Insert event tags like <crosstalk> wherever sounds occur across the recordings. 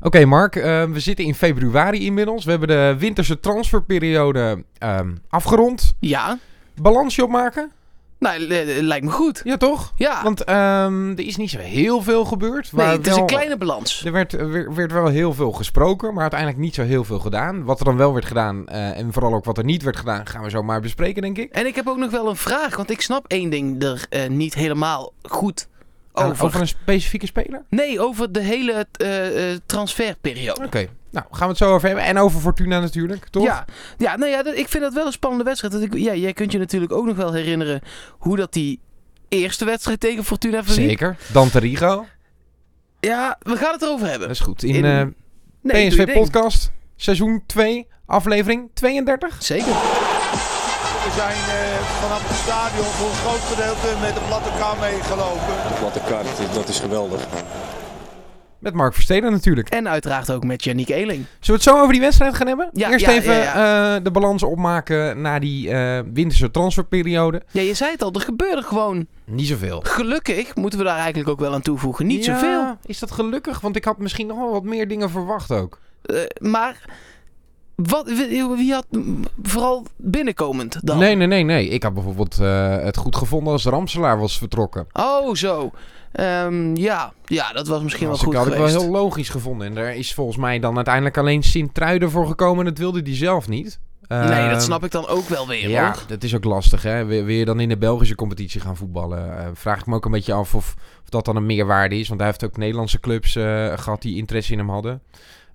Oké, Mark, eh, we zitten in februari inmiddels. We hebben de winterse transferperiode ehm, afgerond. Ja, Balansje opmaken? nou, eh, eh, lijkt me goed. Ja, toch? Ja, Want ehm, er is niet zo heel veel gebeurd. Ah. nee, waar het is een wel- kleine balans. Er werd, werd, werd wel heel veel gesproken, maar uiteindelijk niet zo heel veel gedaan. Wat er dan wel werd gedaan eh, en vooral ook wat er niet werd gedaan, gaan we zo maar bespreken, denk ik. En ik heb ook nog wel een vraag, want ik snap één ding er eh, niet helemaal goed Aan- over. een specifieke speler? Nee, over de hele eh, eh, transferperiode. Oké, nou gaan we het zo over hebben. En over Fortuna natuurlijk, toch? Ja, ja, nou ja, dat- ik vind dat wel een spannende wedstrijd. Dat ik, ja, jij kunt je natuurlijk ook nog wel herinneren hoe dat die eerste wedstrijd tegen Fortuna verliep. Zeker. Dante Rigo. Ja, we gaan het erover Dat hebben. is goed. In, In- eh, Nee, doe je PSV ding. Podcast, seizoen 2, aflevering 32. Zeker. We zijn eh, vanaf het stadion voor een groot gedeelte met de platte kar meegelopen. platte kar, dat is geweldig. Met Mark Versteden natuurlijk. En uiteraard ook met Yannick Eeling. Zullen we het zo over die wedstrijd gaan hebben? Ja, Eerst ja, even ja, eh, de balans opmaken na die eh, winterse transferperiode. Ja, je zei het al, er gebeurde gewoon. Niet zoveel. Gelukkig moeten we daar eigenlijk ook wel aan toevoegen. Niet Ja, zoveel. Is dat gelukkig? Want ik had misschien nog wel wat meer dingen verwacht ook. Eh, maar wat, wie, wie had mm, vooral binnenkomend dan? Nee, nee, nee, nee. Ik had bijvoorbeeld eh, het goed gevonden als Ramselaar was vertrokken. Oh, zo. Ehm, ja. ja, dat was misschien Dat wel Dus ik, had goed ik geweest. wel heel logisch gevonden. En daar is volgens mij dan uiteindelijk alleen Sint-Truiden voor gekomen. Dat wilde die zelf niet. Nee, Ehm, dat snap ik dan ook wel weer, Ja, hoor. dat is ook lastig. Hè? Wil, wil je dan in de Belgische competitie gaan voetballen? Eh, vraag ik me ook een beetje af of, of dat dan een meerwaarde is. Want hij heeft ook Nederlandse clubs eh, gehad die interesse in hem hadden.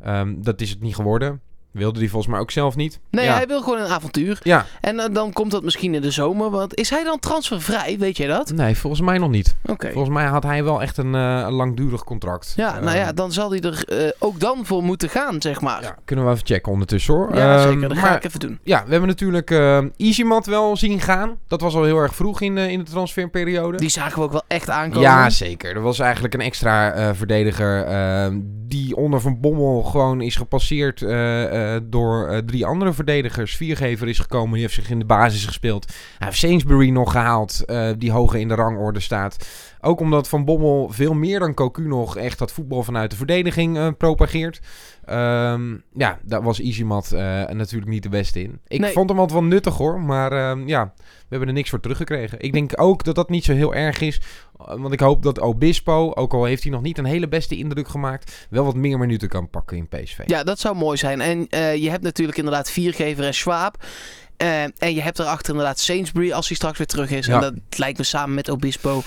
Ehm, dat is het niet geworden. Wilde die volgens mij ook zelf niet. Nee, ja. hij wil gewoon een avontuur. ja. En eh, dan komt dat misschien in de zomer. Want is hij dan transfervrij? Weet jij dat? Nee, volgens mij nog niet. Oké. Volgens mij had hij wel echt een eh, langdurig contract. Ja, nou Ehm, ja, dan zal hij er eh, ook dan voor moeten gaan, zeg maar. Ja, ja, kunnen we even checken ondertussen hoor. Ehm, zeker. Dat ga maar ik even doen. ja, we hebben natuurlijk ehm EasyMat wel zien gaan. Dat was al heel erg vroeg in, eh, in de transferperiode. Die zagen we ook wel echt aankomen. Ja, zeker. Er was eigenlijk een extra eh, verdediger ehm, die onder Van Bommel gewoon is gepasseerd eh, eh, door eh, drie andere verdedigers. Viergever is gekomen, die heeft zich in de basis gespeeld. Hij heeft Sainsbury nog gehaald, eh, die hoger in de rangorde staat. Ook omdat Van Bommel veel meer dan Cocu nog echt dat voetbal vanuit de verdediging eh, propageert. Ehm, ja, daar was Easymat eh, natuurlijk niet de beste in. Ik Nee. vond hem altijd wel nuttig hoor, maar ehm, ja, we hebben er niks voor teruggekregen. Ik denk ook dat dat niet zo heel erg is. Uh, Want ik hoop dat Obispo, ook al heeft hij nog niet een hele beste indruk gemaakt, wel wat meer minuten kan pakken in PSV. Ja, dat zou mooi zijn. En eh, je hebt natuurlijk inderdaad Viergever en Schwab. Eh, en je hebt daarachter inderdaad Sainsbury als hij straks weer terug is. Ja. En dat lijkt me samen met Obispo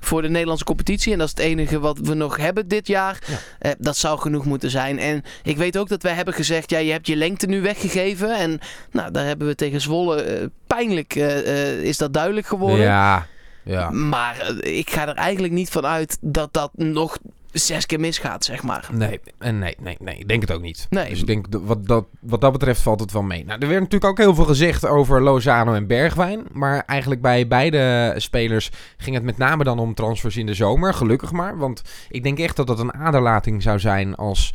voor de Nederlandse competitie. En dat is het enige wat we nog hebben dit jaar. Ja. Eh, dat zou genoeg moeten zijn. En ik weet ook dat wij hebben gezegd, ja, je hebt je lengte nu weggegeven. En nou, daar hebben we tegen Zwolle eh, pijnlijk eh, eh, is dat duidelijk geworden. ja. ja. Maar eh, ik ga er eigenlijk niet van uit dat dat nog zes keer misgaat, zeg maar. Nee, en nee, nee, nee, ik denk het ook niet. Nee. Dus ik denk, dat- wat dat, wat dat betreft valt het wel mee. Nou, er werd natuurlijk ook heel veel gezegd over Lozano en Bergwijn. Maar eigenlijk bij beide spelers ging het met name dan om transfers in de zomer. Gelukkig maar, want ik denk echt dat dat een aderlating zou zijn als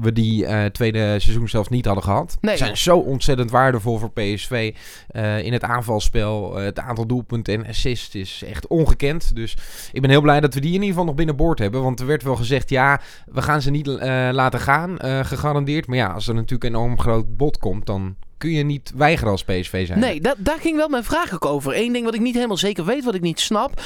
we die eh, tweede seizoen zelfs niet hadden gehad. Nee. Ze zijn zo ontzettend waardevol voor PSV eh, in het aanvalspel. eh, het aantal doelpunten en assists is echt ongekend. Dus ik ben heel blij dat we die in ieder geval nog binnenboord hebben. Want er werd wel gezegd, ja, we gaan ze niet eh, laten gaan, eh, gegarandeerd. Maar ja, als er natuurlijk een enorm groot bod komt, dan kun je niet weigeren als PSV zijn. Nee, da- daar ging wel mijn vraag ook over. Eén ding wat ik niet helemaal zeker weet, wat ik niet snap.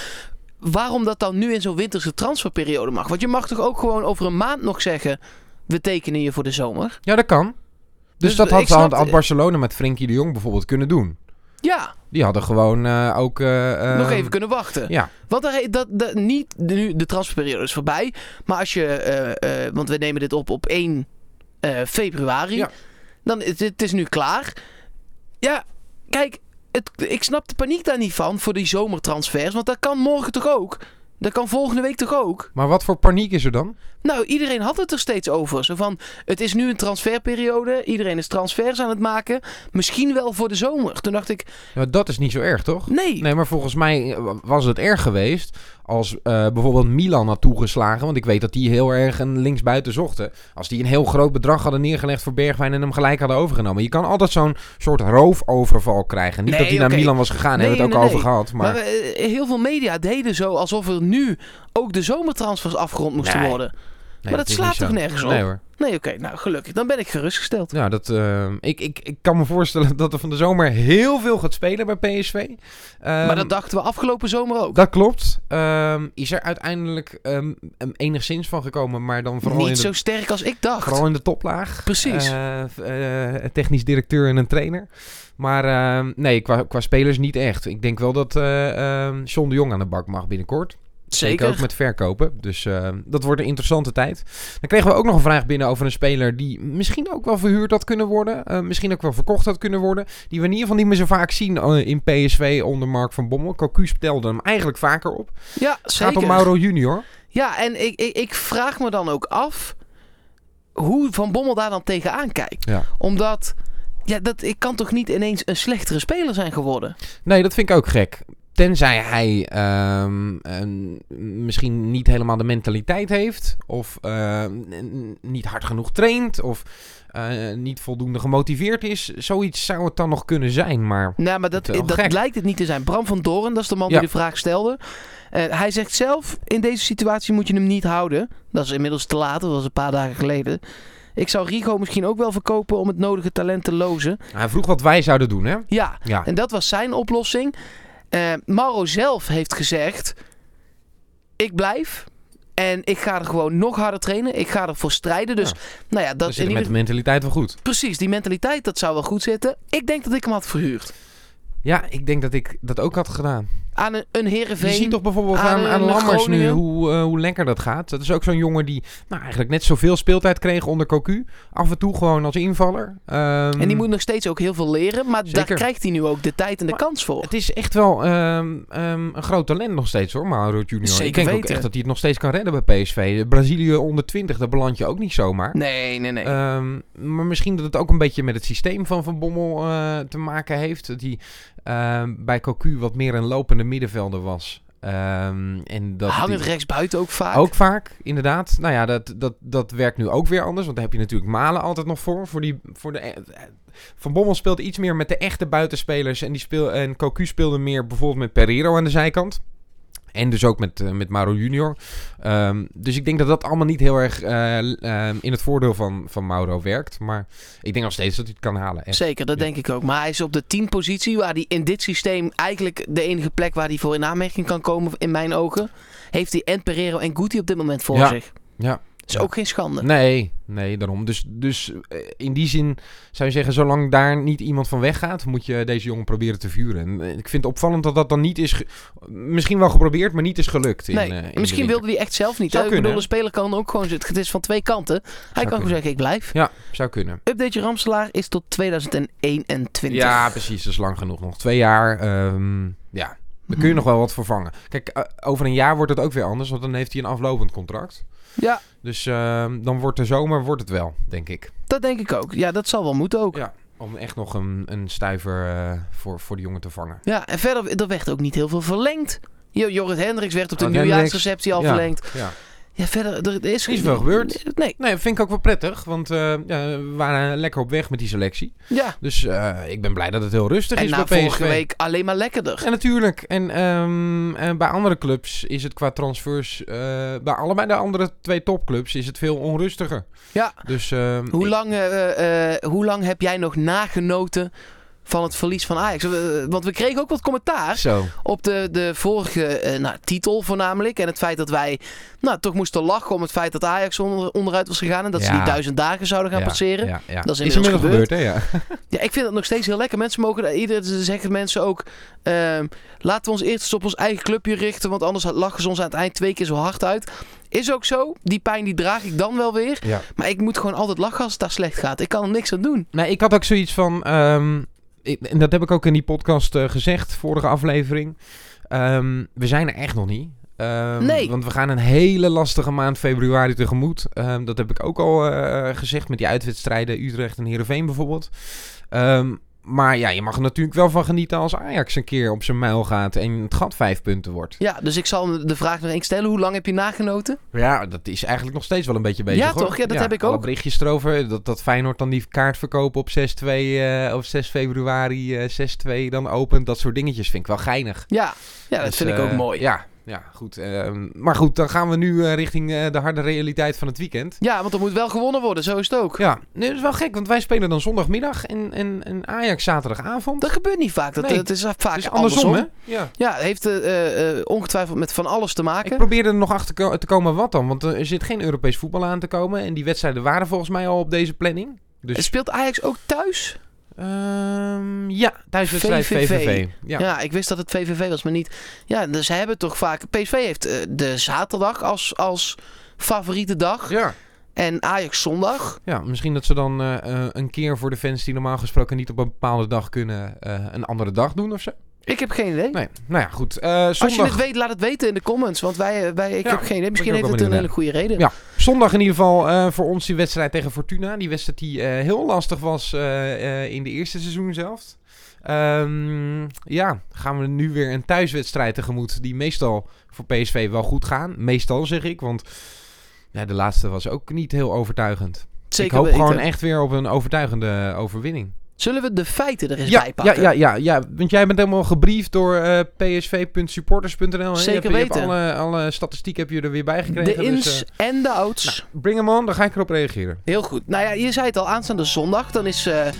Waarom dat dan nu in zo'n winterse transferperiode mag? Want je mag toch ook gewoon over een maand nog zeggen... we tekenen je voor de zomer? Ja, dat kan. Dus, Dus dat ik had, snap- had, had Barcelona met Frenkie de Jong bijvoorbeeld kunnen doen. Ja, Die hadden gewoon eh, ook... eh, nog eh, even kunnen wachten. Ja, Want daar, dat, dat, niet, nu, de transferperiode is voorbij. Maar als je... eh, eh, want we nemen dit op op 1 eh, februari. Ja. Dan het, het is nu klaar. Ja, kijk... Het, ik snap de paniek daar niet van voor die zomertransfers. Want dat kan morgen toch ook? Dat kan volgende week toch ook? maar wat voor paniek is er dan? Nou, iedereen had het er steeds over. Zo van, het is nu een transferperiode. Iedereen is transfers aan het maken. Misschien wel voor de zomer. Toen dacht ik, Ja, dat is niet zo erg, toch? nee. Nee, maar volgens mij eh, was het erg geweest als eh, bijvoorbeeld Milan had toegeslagen. Want ik weet dat die heel erg een linksbuiten zochten. Als die een heel groot bedrag hadden neergelegd voor Bergwijn en hem gelijk hadden overgenomen. Je kan altijd zo'n soort roofoverval krijgen. Niet Nee, dat hij naar oké. Milan was gegaan, Nee, hebben we het ook nee, over nee. gehad. Maar, Maar, eh, heel veel media deden zo alsof er nu ook de zomertransfers afgerond moesten Nee. worden. Nee, dat is slaat niet zo. toch nergens op? Nee hoor. Nee, oké, nou gelukkig. Dan ben ik gerustgesteld. Ja, dat, eh, ik, ik, ik kan me voorstellen dat er van de zomer heel veel gaat spelen bij PSV. maar Ehm, dat dachten we afgelopen zomer ook. dat klopt. Ehm, is er uiteindelijk ehm, em, enigszins van gekomen, maar dan vooral, in Niet de, zo sterk als ik dacht. vooral in de toplaag. Precies. Eh, v- eh, een technisch directeur en een trainer. Maar ehm, nee, qua, qua spelers niet echt. Ik denk wel dat eh ehm, John de Jong aan de bak mag binnenkort. Zeker. ook met verkopen. Dus eh, dat wordt een interessante tijd. Dan kregen we ook nog een vraag binnen over een speler die misschien ook wel verhuurd had kunnen worden. eh, misschien ook wel verkocht had kunnen worden. Die we in ieder geval niet meer zo vaak zien eh, in PSV onder Mark van Bommel. Cocu stelde hem eigenlijk vaker op. Ja, Gaat om zeker. Mauro Junior. Ja, en ik, ik, ik vraag me dan ook af hoe Van Bommel daar dan tegenaan kijkt. Ja. Omdat, ja, dat, ik kan toch niet ineens een slechtere speler zijn geworden? Nee, dat vind ik ook gek. Tenzij hij ehm, een- misschien niet helemaal de mentaliteit heeft. Of ehm, n- n- niet hard genoeg traint. Of eh, niet voldoende gemotiveerd is. Zoiets zou het dan nog kunnen zijn. Maar Nou, maar dat, Dat is wel dat gek. lijkt het niet te zijn. Bram van Doren, dat is de man Ja. die de vraag stelde. Eh, hij zegt zelf, in deze situatie moet je hem niet houden. Dat is inmiddels te laat, dat was een paar dagen geleden. Ik zou Rigo misschien ook wel verkopen om het nodige talent te lozen. hij vroeg wat wij zouden doen, hè? Ja, Ja. En dat was zijn oplossing. Eh Mauro zelf heeft gezegd: Ik blijf. En ik ga er gewoon nog harder trainen. Ik ga ervoor strijden. Dus Ja. nou ja, dat Dan is zit hij met de mentaliteit wel goed. precies. Die mentaliteit, dat zou wel goed zitten. Ik denk dat ik hem had verhuurd. Ja, ik denk dat ik dat ook had gedaan. Aan een, een Je Heerenveen. ziet toch bijvoorbeeld aan, aan, eh, aan naar Lammers nu Groningen. hoe, eh, hoe lekker dat gaat. Dat is ook zo'n jongen die nou, eigenlijk net zoveel speeltijd kreeg onder Cocu. Af en toe gewoon als invaller. Ehm, En die moet nog steeds ook heel veel leren. Maar daar Zeker. krijgt hij nu ook de tijd en de Maar kans voor. Het is echt wel ehm, ehm, een groot talent nog steeds hoor, Mauro Junior. Zeker ik denk ook weten. echt dat hij het nog steeds kan redden bij PSV. De Brazilië onder 20, daar beland je ook niet zomaar. Nee, nee, nee. Ehm, maar misschien dat het ook een beetje met het systeem van Van Bommel eh, te maken heeft. Dat hij ehm, bij Cocu wat meer een lopende middenvelder was. Ehm en dat Hang die- het rechts buiten ook vaak. ook vaak, inderdaad. Nou ja, dat, dat, dat werkt nu ook weer anders. Want daar heb je natuurlijk Malen altijd nog voor. voor, die, voor de, eh, Van Bommel speelt iets meer met de echte buitenspelers. En, die speel, en Cocu speelde meer bijvoorbeeld met Pereiro aan de zijkant. En dus ook met, eh, met Mauro Junior. Ehm, dus ik denk dat dat allemaal niet heel erg eh, l- ehm, in het voordeel van, van Mauro werkt. Maar ik denk nog steeds dat hij het kan halen. Echt. Zeker, dat Ja. denk ik ook. Maar hij is op de 10 positie, waar hij in dit systeem eigenlijk de enige plek waar hij voor in aanmerking kan komen, in mijn ogen, heeft hij en Pereiro en Guti op dit moment voor Ja. zich. Ja. Dat is Ja. ook geen schande. Nee, nee, daarom. Dus, dus eh, in die zin zou je zeggen, zolang daar niet iemand van weggaat, moet je deze jongen proberen te vuren. En, eh, ik vind het opvallend dat dat dan niet is, ge- misschien wel geprobeerd, maar niet is gelukt. In, Nee, eh, in de misschien winter. wilde hij echt zelf niet. Zou hè? Ik bedoel, kunnen, de speler kan ook gewoon zitten. Het is van twee kanten. Hij kan kunnen. gewoon zeggen, ik blijf. Ja, zou kunnen. Updateje Ramselaar is tot 2021. Ja, precies. Dat is lang genoeg nog. Twee jaar, ehm, ja. Daar Mhm. kun je nog wel wat vervangen. Kijk, eh, over een jaar wordt het ook weer anders, want dan heeft hij een aflopend contract. Ja, Dus ehm, dan wordt de zomer wordt het wel, denk ik. dat denk ik ook. Ja, dat zal wel moeten ook. Ja, Ja. Om echt nog een, een stuiver eh, voor, voor de jongen te vangen. en verder, er werd ook niet heel veel verlengd. Jo- Jorrit Hendricks werd op de Oh, Hendricks. nieuwjaarsreceptie al Ja. verlengd. Ja. Ja, verder, er, is Is wel gebeurd. Nee, Nee, vind ik ook wel prettig, want eh, ja, we waren lekker op weg met die selectie. ja. Dus eh, ik ben blij dat het heel rustig En is na bij PSV. vorige week alleen maar lekkerder. En natuurlijk, en, ehm, en bij andere clubs is het qua transfers, eh, bij allebei de andere twee topclubs is het veel onrustiger. Ja. Dus, ehm, Hoe ik- lang, eh, eh, hoe lang heb jij nog nagenoten van het verlies van Ajax? Eh, Want we kregen ook wat commentaar Zo. op de, de vorige eh, nou, titel voornamelijk. En het feit dat wij nou, toch moesten lachen om het feit dat Ajax onder, onderuit was gegaan. En dat ze Ja. die duizend dagen zouden gaan Ja, passeren. Ja, ja. Dat is is inmiddels inmiddels gebeurd, hè? Ja. Ja, ik vind dat nog steeds heel lekker. Mensen mogen daar ieder zeggen mensen ook. ehm, laten we ons eerst eens op ons eigen clubje richten. Want anders lachen ze ons aan het eind twee keer zo hard uit. Is ook zo. Die pijn die draag ik dan wel weer. Ja. Maar ik moet gewoon altijd lachen als het daar slecht gaat. Ik kan er niks aan doen. Nee, Nou, ik had ook zoiets van. ehm, ik- en dat heb ik ook in die podcast eh, gezegd, vorige aflevering. Ehm, we zijn er echt nog niet. Ehm, Nee. Want we gaan een hele lastige maand februari tegemoet. Ehm, dat heb ik ook al eh, gezegd met die uitwedstrijden Utrecht en Heerenveen bijvoorbeeld. Ehm, maar ja, je mag er natuurlijk wel van genieten als Ajax een keer op zijn mijl gaat en het gat vijf punten wordt. Ja, dus ik zal de vraag nog eens stellen. Hoe lang heb je nagenoten? Ja, dat is eigenlijk nog steeds wel een beetje bezig. Ja, hoor. toch? Ja, dat heb ik alle ook. berichtjes erover. Dat, dat Feyenoord dan die kaart verkopen op 6-2 eh, of 6 februari, eh 6-2 dan opent. Dat soort dingetjes vind ik wel geinig. Ja, ja dat Dus, vind ik ook eh, mooi. Ja, ja, goed. ehm, maar goed, dan gaan we nu eh, richting eh, de harde realiteit van het weekend. Ja, want er moet wel gewonnen worden, zo is het ook. Ja, nee, dat is wel gek, want wij spelen dan zondagmiddag en, en, en Ajax zaterdagavond. Dat gebeurt niet vaak. Dat, Nee. Het is vaak Het is andersom, andersom. hè? Ja. Ja, het heeft eh, eh, eh, ongetwijfeld met van alles te maken. Ik probeerde er nog achter ko- te komen wat dan, want eh, er zit geen Europees voetbal aan te komen. En die wedstrijden waren volgens mij al op deze planning. Dus Speelt Ajax ook thuis? ehm, ja, thuiswedstrijd VVV. VVV. Ja. Ja. ik wist dat het VVV was, maar niet. Ja, dus ze hebben toch vaak. PSV heeft eh, de zaterdag als, als favoriete dag. Ja. En Ajax zondag. ja, misschien dat ze dan eh, eh, een keer voor de fans die normaal gesproken niet op een bepaalde dag kunnen, eh, een andere dag doen of zo. Ik heb geen idee. Nee, nou ja, goed. Eh, Als je zondag, het weet, laat het weten in de comments. Want wij, eh, wij ik Ja, heb geen idee. Misschien ben heeft ik ook het wel een hele goede reden. Ja. zondag in ieder geval eh, voor ons die wedstrijd tegen Fortuna. Die wedstrijd die eh, heel lastig was eh, eh, in de eerste seizoen zelf. Ehm, ja, gaan we nu weer een thuiswedstrijd tegemoet die meestal voor PSV wel goed gaan. Meestal zeg ik, want ja, de laatste was ook niet heel overtuigend. Zeker ik hoop weten. gewoon echt weer op een overtuigende overwinning. Zullen we de feiten er eens ja, bij pakken? Ja, ja, ja, ja, want jij bent helemaal gebriefd door eh, psv.supporters.nl. hè? Je hebt- Zeker je hebt weten. alle, alle statistiek heb je er weer bij gekregen. de dus, ins eh, en de outs. bring hem on, dan ga ik erop reageren. Heel goed. Nou ja, je zei het al, aanstaande zondag. Dan is eh, er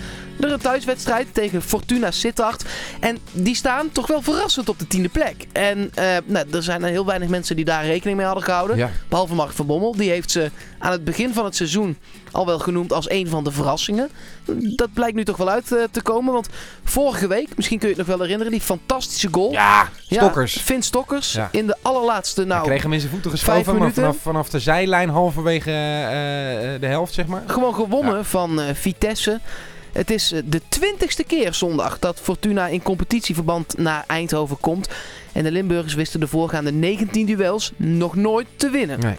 een thuiswedstrijd tegen Fortuna Sittard. En die staan toch wel verrassend op de tiende plek. En eh, nou, er zijn heel weinig mensen die daar rekening mee hadden gehouden. Ja, Behalve Mark van Bommel. Die heeft ze aan het begin van het seizoen al wel genoemd als een van de verrassingen. Dat blijkt nu toch wel uit eh, te komen. Want vorige week, misschien kun je het nog wel herinneren, die fantastische goal. ja stokkers. Ja, Vin Stokkers Ja. in de allerlaatste. Hij Nou, kreeg hem in zijn voeten vijf geschoven, maar minuten. vanaf, vanaf de zijlijn halverwege eh, eh, de helft, zeg maar. gewoon gewonnen van eh, Vitesse. Het is eh, de twintigste keer zondag dat Fortuna in competitieverband naar Eindhoven komt. En de Limburgers wisten de voorgaande 19 duels nog nooit te winnen. Nee.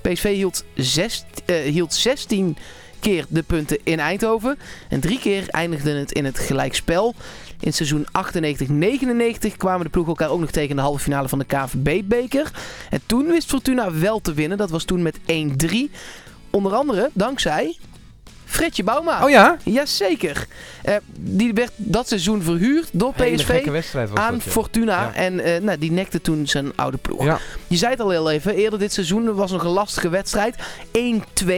PSV hield, zest, eh, hield 16 keer de punten in Eindhoven. En drie keer eindigde het in het gelijkspel. In seizoen 98-99 kwamen de ploegen elkaar ook nog tegen in de halve finale van de KVB-beker. En toen wist Fortuna wel te winnen. Dat was toen met 1-3. Onder andere dankzij Fredje Bouma. Oh ja? Jazeker. Eh, die werd dat seizoen verhuurd door Hele PSV gekke wedstrijd was aan dat, ja. Fortuna. Ja. En eh, nou, die nekte toen zijn oude ploeg. Ja. Je zei het al heel even, eerder dit seizoen was nog een lastige wedstrijd. 1-2.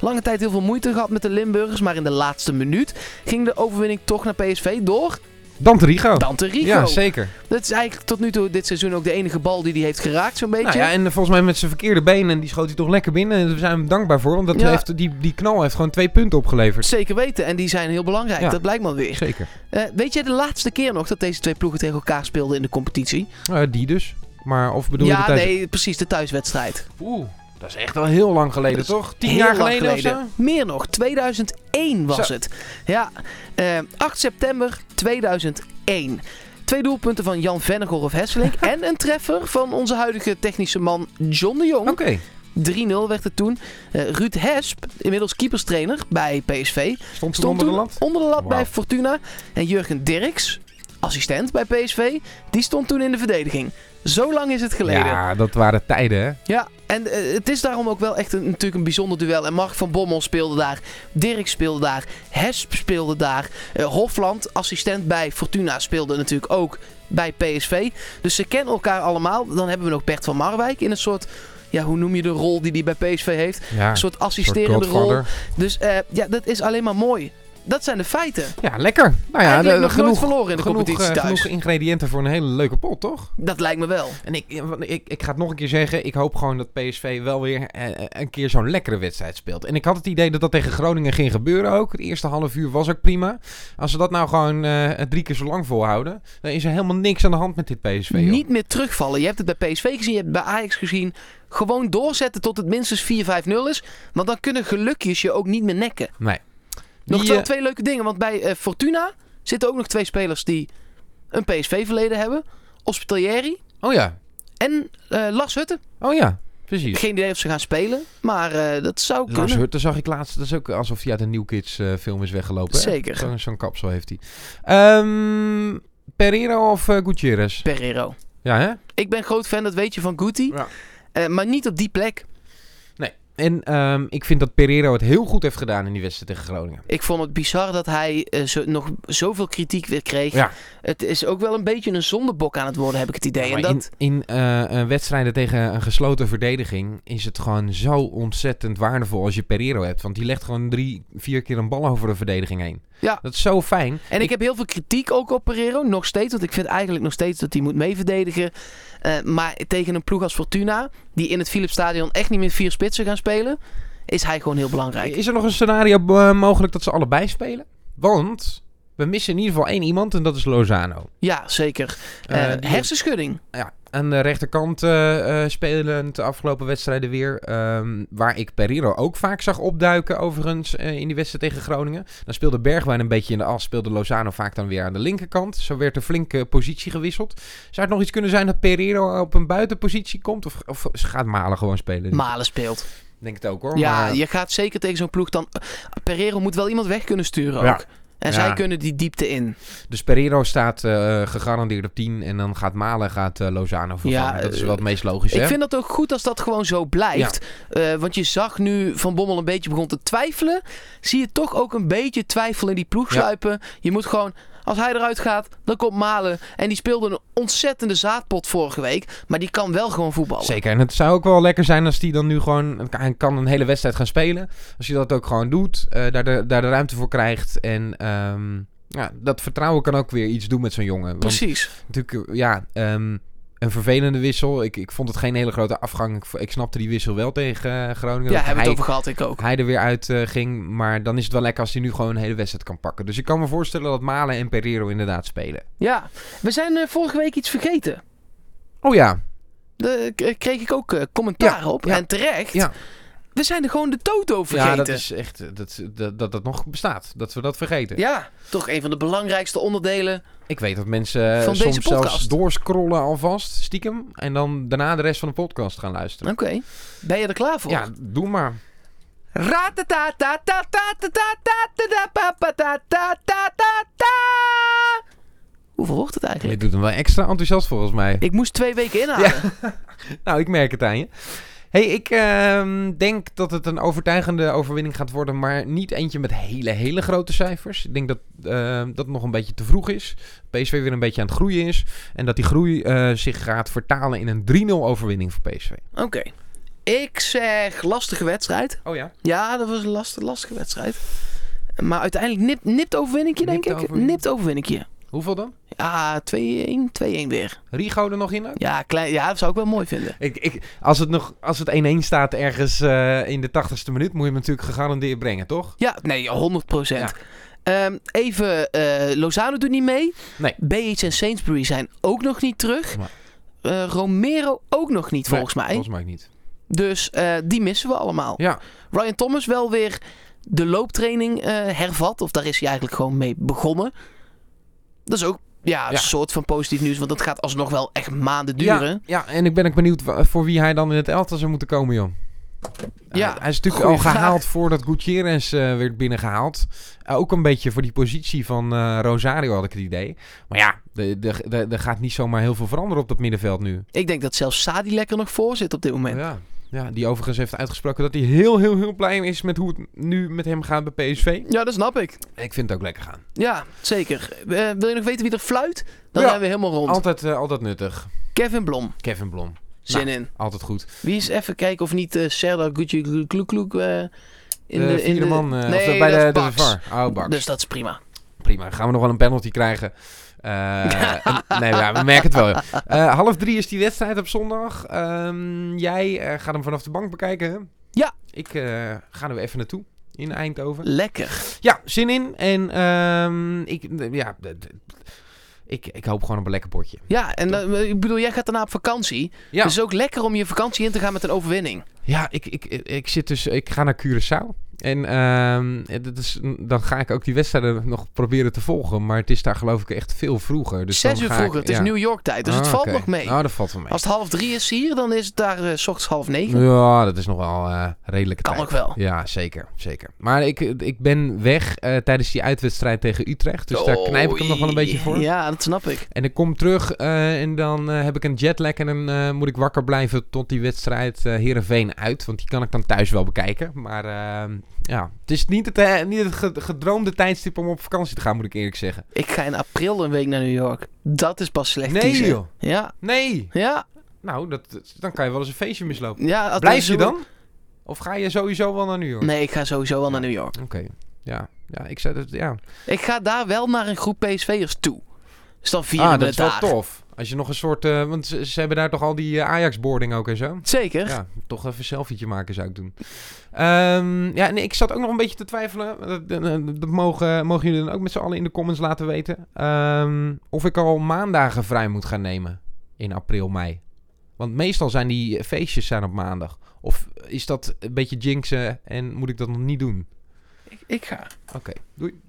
Lange tijd heel veel moeite gehad met de Limburgers. Maar in de laatste minuut ging de overwinning toch naar PSV door Dante Rigo. Dante Rico. Ja, zeker. Dat is eigenlijk tot nu toe dit seizoen ook de enige bal die hij heeft geraakt, zo'n beetje. Nou ja, en volgens mij met zijn verkeerde been en die schoot hij toch lekker binnen. En daar zijn we hem dankbaar voor, want dat Ja. heeft, die, die knal heeft gewoon twee punten opgeleverd. Zeker weten. En die zijn heel belangrijk, Ja. dat blijkt maar weer. Zeker. Eh, weet jij de laatste keer nog dat deze twee ploegen tegen elkaar speelden in de competitie? Eh, die dus. Maar of bedoel je ja, de tijd... nee, precies, de thuiswedstrijd. Oeh, dat is echt wel heel lang geleden, Dat is toch? Tien Heel jaar lang geleden, of zo? Meer nog, 2001 was Zo. het. Ja, eh, 8 september 2001. Twee doelpunten van Jan <laughs> Vennegorf Hesselink en een treffer van onze huidige technische man John de Jong. Oké, 3-0 werd het toen. Eh, Ruud Hesp, inmiddels keeperstrainer bij PSV, stond toen stond onder de toen lat. onder de lat Wauw. bij Fortuna. En Jurgen Dirks, assistent bij PSV, die stond toen in de verdediging. Zo lang is het geleden. Ja, dat waren tijden, hè? Ja, en eh, het is daarom ook wel echt een, natuurlijk een bijzonder duel. En Mark van Bommel speelde daar, Dirk speelde daar, Hesp speelde daar. eh, Hofland, assistent bij Fortuna, speelde natuurlijk ook bij PSV. Dus ze kennen elkaar allemaal. Dan hebben we nog Bert van Marwijk in een soort, ja, hoe noem je de rol die hij bij PSV heeft? Ja, Een soort soort assisterende rol. godfather. Dus eh, ja, dat is alleen maar mooi. Dat zijn de feiten. Ja, lekker. Nou ja, Eigenlijk de- nog genoeg, nooit verloren in de genoeg, competitie eh, thuis. genoeg ingrediënten voor een hele leuke pot, toch? Dat lijkt me wel. En ik, eh, want ik, ik ga het nog een keer zeggen. Ik hoop gewoon dat PSV wel weer eh, een keer zo'n lekkere wedstrijd speelt. En ik had het idee dat dat tegen Groningen ging gebeuren ook. Het eerste half uur was ook prima. Als ze dat nou gewoon eh, drie keer zo lang volhouden... dan is er helemaal niks aan de hand met dit PSV. joh. Niet meer terugvallen. Je hebt het bij PSV gezien, je hebt het bij Ajax gezien. Gewoon doorzetten tot het minstens 4-5-0 is. Want dan kunnen gelukjes je ook niet meer nekken. Nee. Nog Die, wel eh, twee leuke dingen. Want bij eh, Fortuna zitten ook nog twee spelers die een PSV-verleden hebben. Ospitalieri oh ja, en eh Lars Hutten. oh ja, precies. Geen idee of ze gaan spelen, maar eh, dat zou kunnen. Lars Hutten zag ik laatst. Dat is ook alsof hij uit een New Kids eh, film is weggelopen. hè? Zeker. Zo'n zo'n kapsel heeft hij. Ehm Pereira of eh, Gutierrez? Pereiro. Ja, hè? Ik ben groot fan, dat weet je, van Guti. Ja. Eh, maar niet op die plek. Nee. En ehm, ik vind dat Pereiro het heel goed heeft gedaan in die wedstrijd tegen Groningen. Ik vond het bizar dat hij eh, zo, nog zoveel kritiek weer kreeg. Ja. Het is ook wel een beetje een zondebok aan het worden, heb ik het idee. en Maar dat, In, in eh, eh, wedstrijden tegen een gesloten verdediging is het gewoon zo ontzettend waardevol als je Pereiro hebt. Want die legt gewoon drie, vier keer een bal over de verdediging heen. Ja. Dat is zo fijn. En ik, heb heel veel kritiek ook op Pereiro, nog steeds. Want ik vind eigenlijk nog steeds dat hij moet meeverdedigen. Eh, maar tegen een ploeg als Fortuna, die in het Philips Stadion echt niet meer vier spitsen gaan spelen, is hij gewoon heel belangrijk. Is er nog een scenario eh, mogelijk dat ze allebei spelen? Want we missen in ieder geval één iemand en dat is Lozano. Ja, zeker. Eh, Eh, die- hersenschudding. Ja, aan de rechterkant eh, eh, spelend de afgelopen wedstrijden weer. ehm, waar ik Pereiro ook vaak zag opduiken, overigens, eh, in die wedstrijd tegen Groningen. Dan speelde Bergwijn een beetje in de as, speelde Lozano vaak dan weer aan de linkerkant. Zo werd er flink eh, positie gewisseld. Zou het nog iets kunnen zijn dat Pereiro op een buitenpositie komt? Of, of ze gaat Malen gewoon spelen? Malen speelt. Ik Denk het ook hoor. Ja, maar- je gaat zeker tegen zo'n ploeg dan... Pereiro moet wel iemand weg kunnen sturen ook. Ja. En Ja. zij kunnen die diepte in. Dus Pereiro staat eh, gegarandeerd op 10 en dan gaat Malen gaat, eh, Lozano vervangen. Ja, dat is eh, wel het meest logische. Ik hè? vind dat ook goed als dat gewoon zo blijft. Eh, want je zag nu Van Bommel een beetje begon te twijfelen. Zie je toch ook een beetje twijfel in die ploeg Ja. sluipen. Je moet gewoon... Als hij eruit gaat, dan komt Malen. En die speelde een ontzettende zaadpot vorige week. Maar die kan wel gewoon voetballen. Zeker, en het zou ook wel lekker zijn als die dan nu gewoon... Hij kan een hele wedstrijd gaan spelen. Als hij dat ook gewoon doet, eh, daar, de, daar de ruimte voor krijgt. En ehm, ja, dat vertrouwen kan ook weer iets doen met zo'n jongen. Want Precies. natuurlijk, eh, ja, ehm, een vervelende wissel. Ik, ik vond het geen hele grote afgang. Ik, ik snapte die wissel wel tegen eh, Groningen. Ja, Dat hebben hij, we het over gehad, ik ook. hij er weer uit eh, ging. Maar dan is het wel lekker als hij nu gewoon een hele wedstrijd kan pakken. Dus ik kan me voorstellen dat Malen en Pereiro inderdaad spelen. Ja, we zijn eh, vorige week iets vergeten. Oh ja, Daar k- kreeg ik ook eh, commentaar Ja, op. ja. En terecht. Ja. We zijn er gewoon de toto vergeten. ja dat is echt... eh, Dat, dat, dat dat nog bestaat. Dat we dat vergeten. Ja, toch een van de belangrijkste onderdelen. Ik weet dat mensen eh, Van deze soms zelfs podcast. doorscrollen alvast, stiekem. En dan daarna de rest van de podcast gaan Oké, luisteren. ben je er klaar voor? Ja, doe maar. Hoeveel wordt het Je eigenlijk? doet hem wel extra enthousiast volgens mij. Ik moest twee weken inhalen. Nou, ik merk het aan je. hey, ik ehm, denk dat het een overtuigende overwinning gaat worden, maar niet eentje met hele, hele grote cijfers. Ik denk dat ehm, dat nog een beetje te vroeg is. PSV weer een beetje aan het groeien is. En dat die groei eh, zich gaat vertalen in een 3-0 overwinning voor PSV. Oké. Ik zeg lastige wedstrijd. Oh ja? Ja, dat was een lastige, lastige wedstrijd. Maar uiteindelijk nipt, nipt overwinningje, denk Nipt ik. overwinning. Nipt overwinningje. Hoeveel dan? Ja, 2-1, 2-1 weer. Rigo er nog in? ook? Ja, klein, ja, dat zou ik wel mooi vinden. Ik, ik, als het nog- als het 1-1 staat ergens eh, in de 80ste minuut, moet je hem natuurlijk gegarandeerd brengen, toch? Ja, nee, 100 Ehm, even, eh, Lozano doet niet mee. Nee. Bates en Sainsbury zijn ook nog niet terug. Nee. Eh, Romero ook nog niet, volgens mij. Volgens mij niet. Dus eh, die missen we allemaal. Ja, Ryan Thomas wel weer de looptraining eh, hervat. Of daar is hij eigenlijk gewoon mee begonnen. Dat is ook ja, een Ja. soort van positief nieuws. Want dat gaat alsnog wel echt maanden ja, duren. ja, en ik ben ook benieuwd wa- voor wie hij dan in het elftal zou moeten komen, joh. Ja, hij, hij is natuurlijk goeie al vraag. gehaald voordat Gutierrez eh, werd binnengehaald. Eh, ook een beetje voor die positie van eh, Rosario had ik het idee. Maar ja, de- de- de- er gaat niet zomaar heel veel veranderen op dat middenveld nu. Ik denk dat zelfs Sadi lekker nog voor zit op dit moment. Ja. ja, die overigens heeft uitgesproken dat hij heel, heel, heel blij is met hoe het nu met hem gaat bij PSV. ja dat snap ik. Ik vind het ook lekker gaan. Ja, zeker. Eh, wil je nog weten wie er fluit? Dan Ja. zijn we helemaal rond. Altijd, eh, altijd nuttig. Kevin Blom, Kevin Blom. zin Nou. in. Altijd goed. Wie is even kijken of niet eh Serdar Gucci Gloek Gloek, eh, In de, vierde man eh, of bij dat de, is de Bax. VAR. Oh, Bax. Dus dat is prima. Prima. Gaan we nog wel een penalty krijgen? <laughs> Eh, en- nee, ja, we merken het wel. Eh, half drie is die wedstrijd op zondag. Ehm, jij eh, gaat hem vanaf de bank bekijken. hè? Ja. Ik eh, ga er weer even naartoe. In Eindhoven. Lekker. Ja, zin in. En ehm, ik, ja, d- d- ik, ik hoop gewoon op een lekker potje. Ja, en dan, eh, ik bedoel, jij gaat daarna op vakantie. Ja. Dus het is ook lekker om je vakantie in te gaan met een overwinning. Ja, ik, ik, ik, ik zit dus. Ik ga naar Curaçao. En ehm, dat is, dan ga ik ook die wedstrijden nog proberen te volgen. Maar het is daar geloof ik echt veel vroeger. Dus Zes dan uur ga vroeger, ik- het is ja. New York tijd, dus het Ah, valt oké. nog mee. Nou, dat valt wel mee. Als het half drie is hier, dan is het daar eh, s ochtends half negen. Ja, dat is nog wel eh redelijk Kan tijd. ook wel. Ja, zeker, zeker. Maar ik, ik ben weg eh, tijdens die uitwedstrijd tegen Utrecht. Dus daar Oh, knijp ik hem nog wel een beetje voor. Ja, dat snap ik. En ik kom terug eh, en dan eh, heb ik een jetlag en dan eh, moet ik wakker blijven tot die wedstrijd eh Heerenveen uit. Want die kan ik dan thuis wel bekijken. Maar eh, ja, het is niet het, eh, niet het ge- gedroomde tijdstip om op vakantie te gaan, moet ik eerlijk zeggen. Ik ga in april een week naar New York. Dat is pas slecht Nee kiezen. joh, Ja, nee. ja, Nou, dat, dat- dan kan je wel eens een feestje mislopen. ja. als- Blijf je als- dan? Of ga je sowieso wel naar New York? Nee, ik ga sowieso wel naar New York. Oké, ja. Ja, ik zei dat, ja. Ik ga daar wel naar een groep PSV'ers toe. Dus dan vieren Ah, we dat is het wel daar. tof. Als je nog een soort, eh, want ze, ze hebben daar toch al die eh, Ajax-boarding ook en zo? Zeker. Ja, toch even een selfietje maken zou ik doen. Ehm, ja, nee, ik zat ook nog een beetje te twijfelen. Dat, dat- dat mogen, mogen jullie dan ook met z'n allen in de comments laten weten. Ehm, of ik al maandagen vrij moet gaan nemen in april, mei. Want meestal zijn die feestjes zijn op maandag. Of is dat een beetje jinxen en moet ik dat nog niet doen? Ik ga. Oké, doei.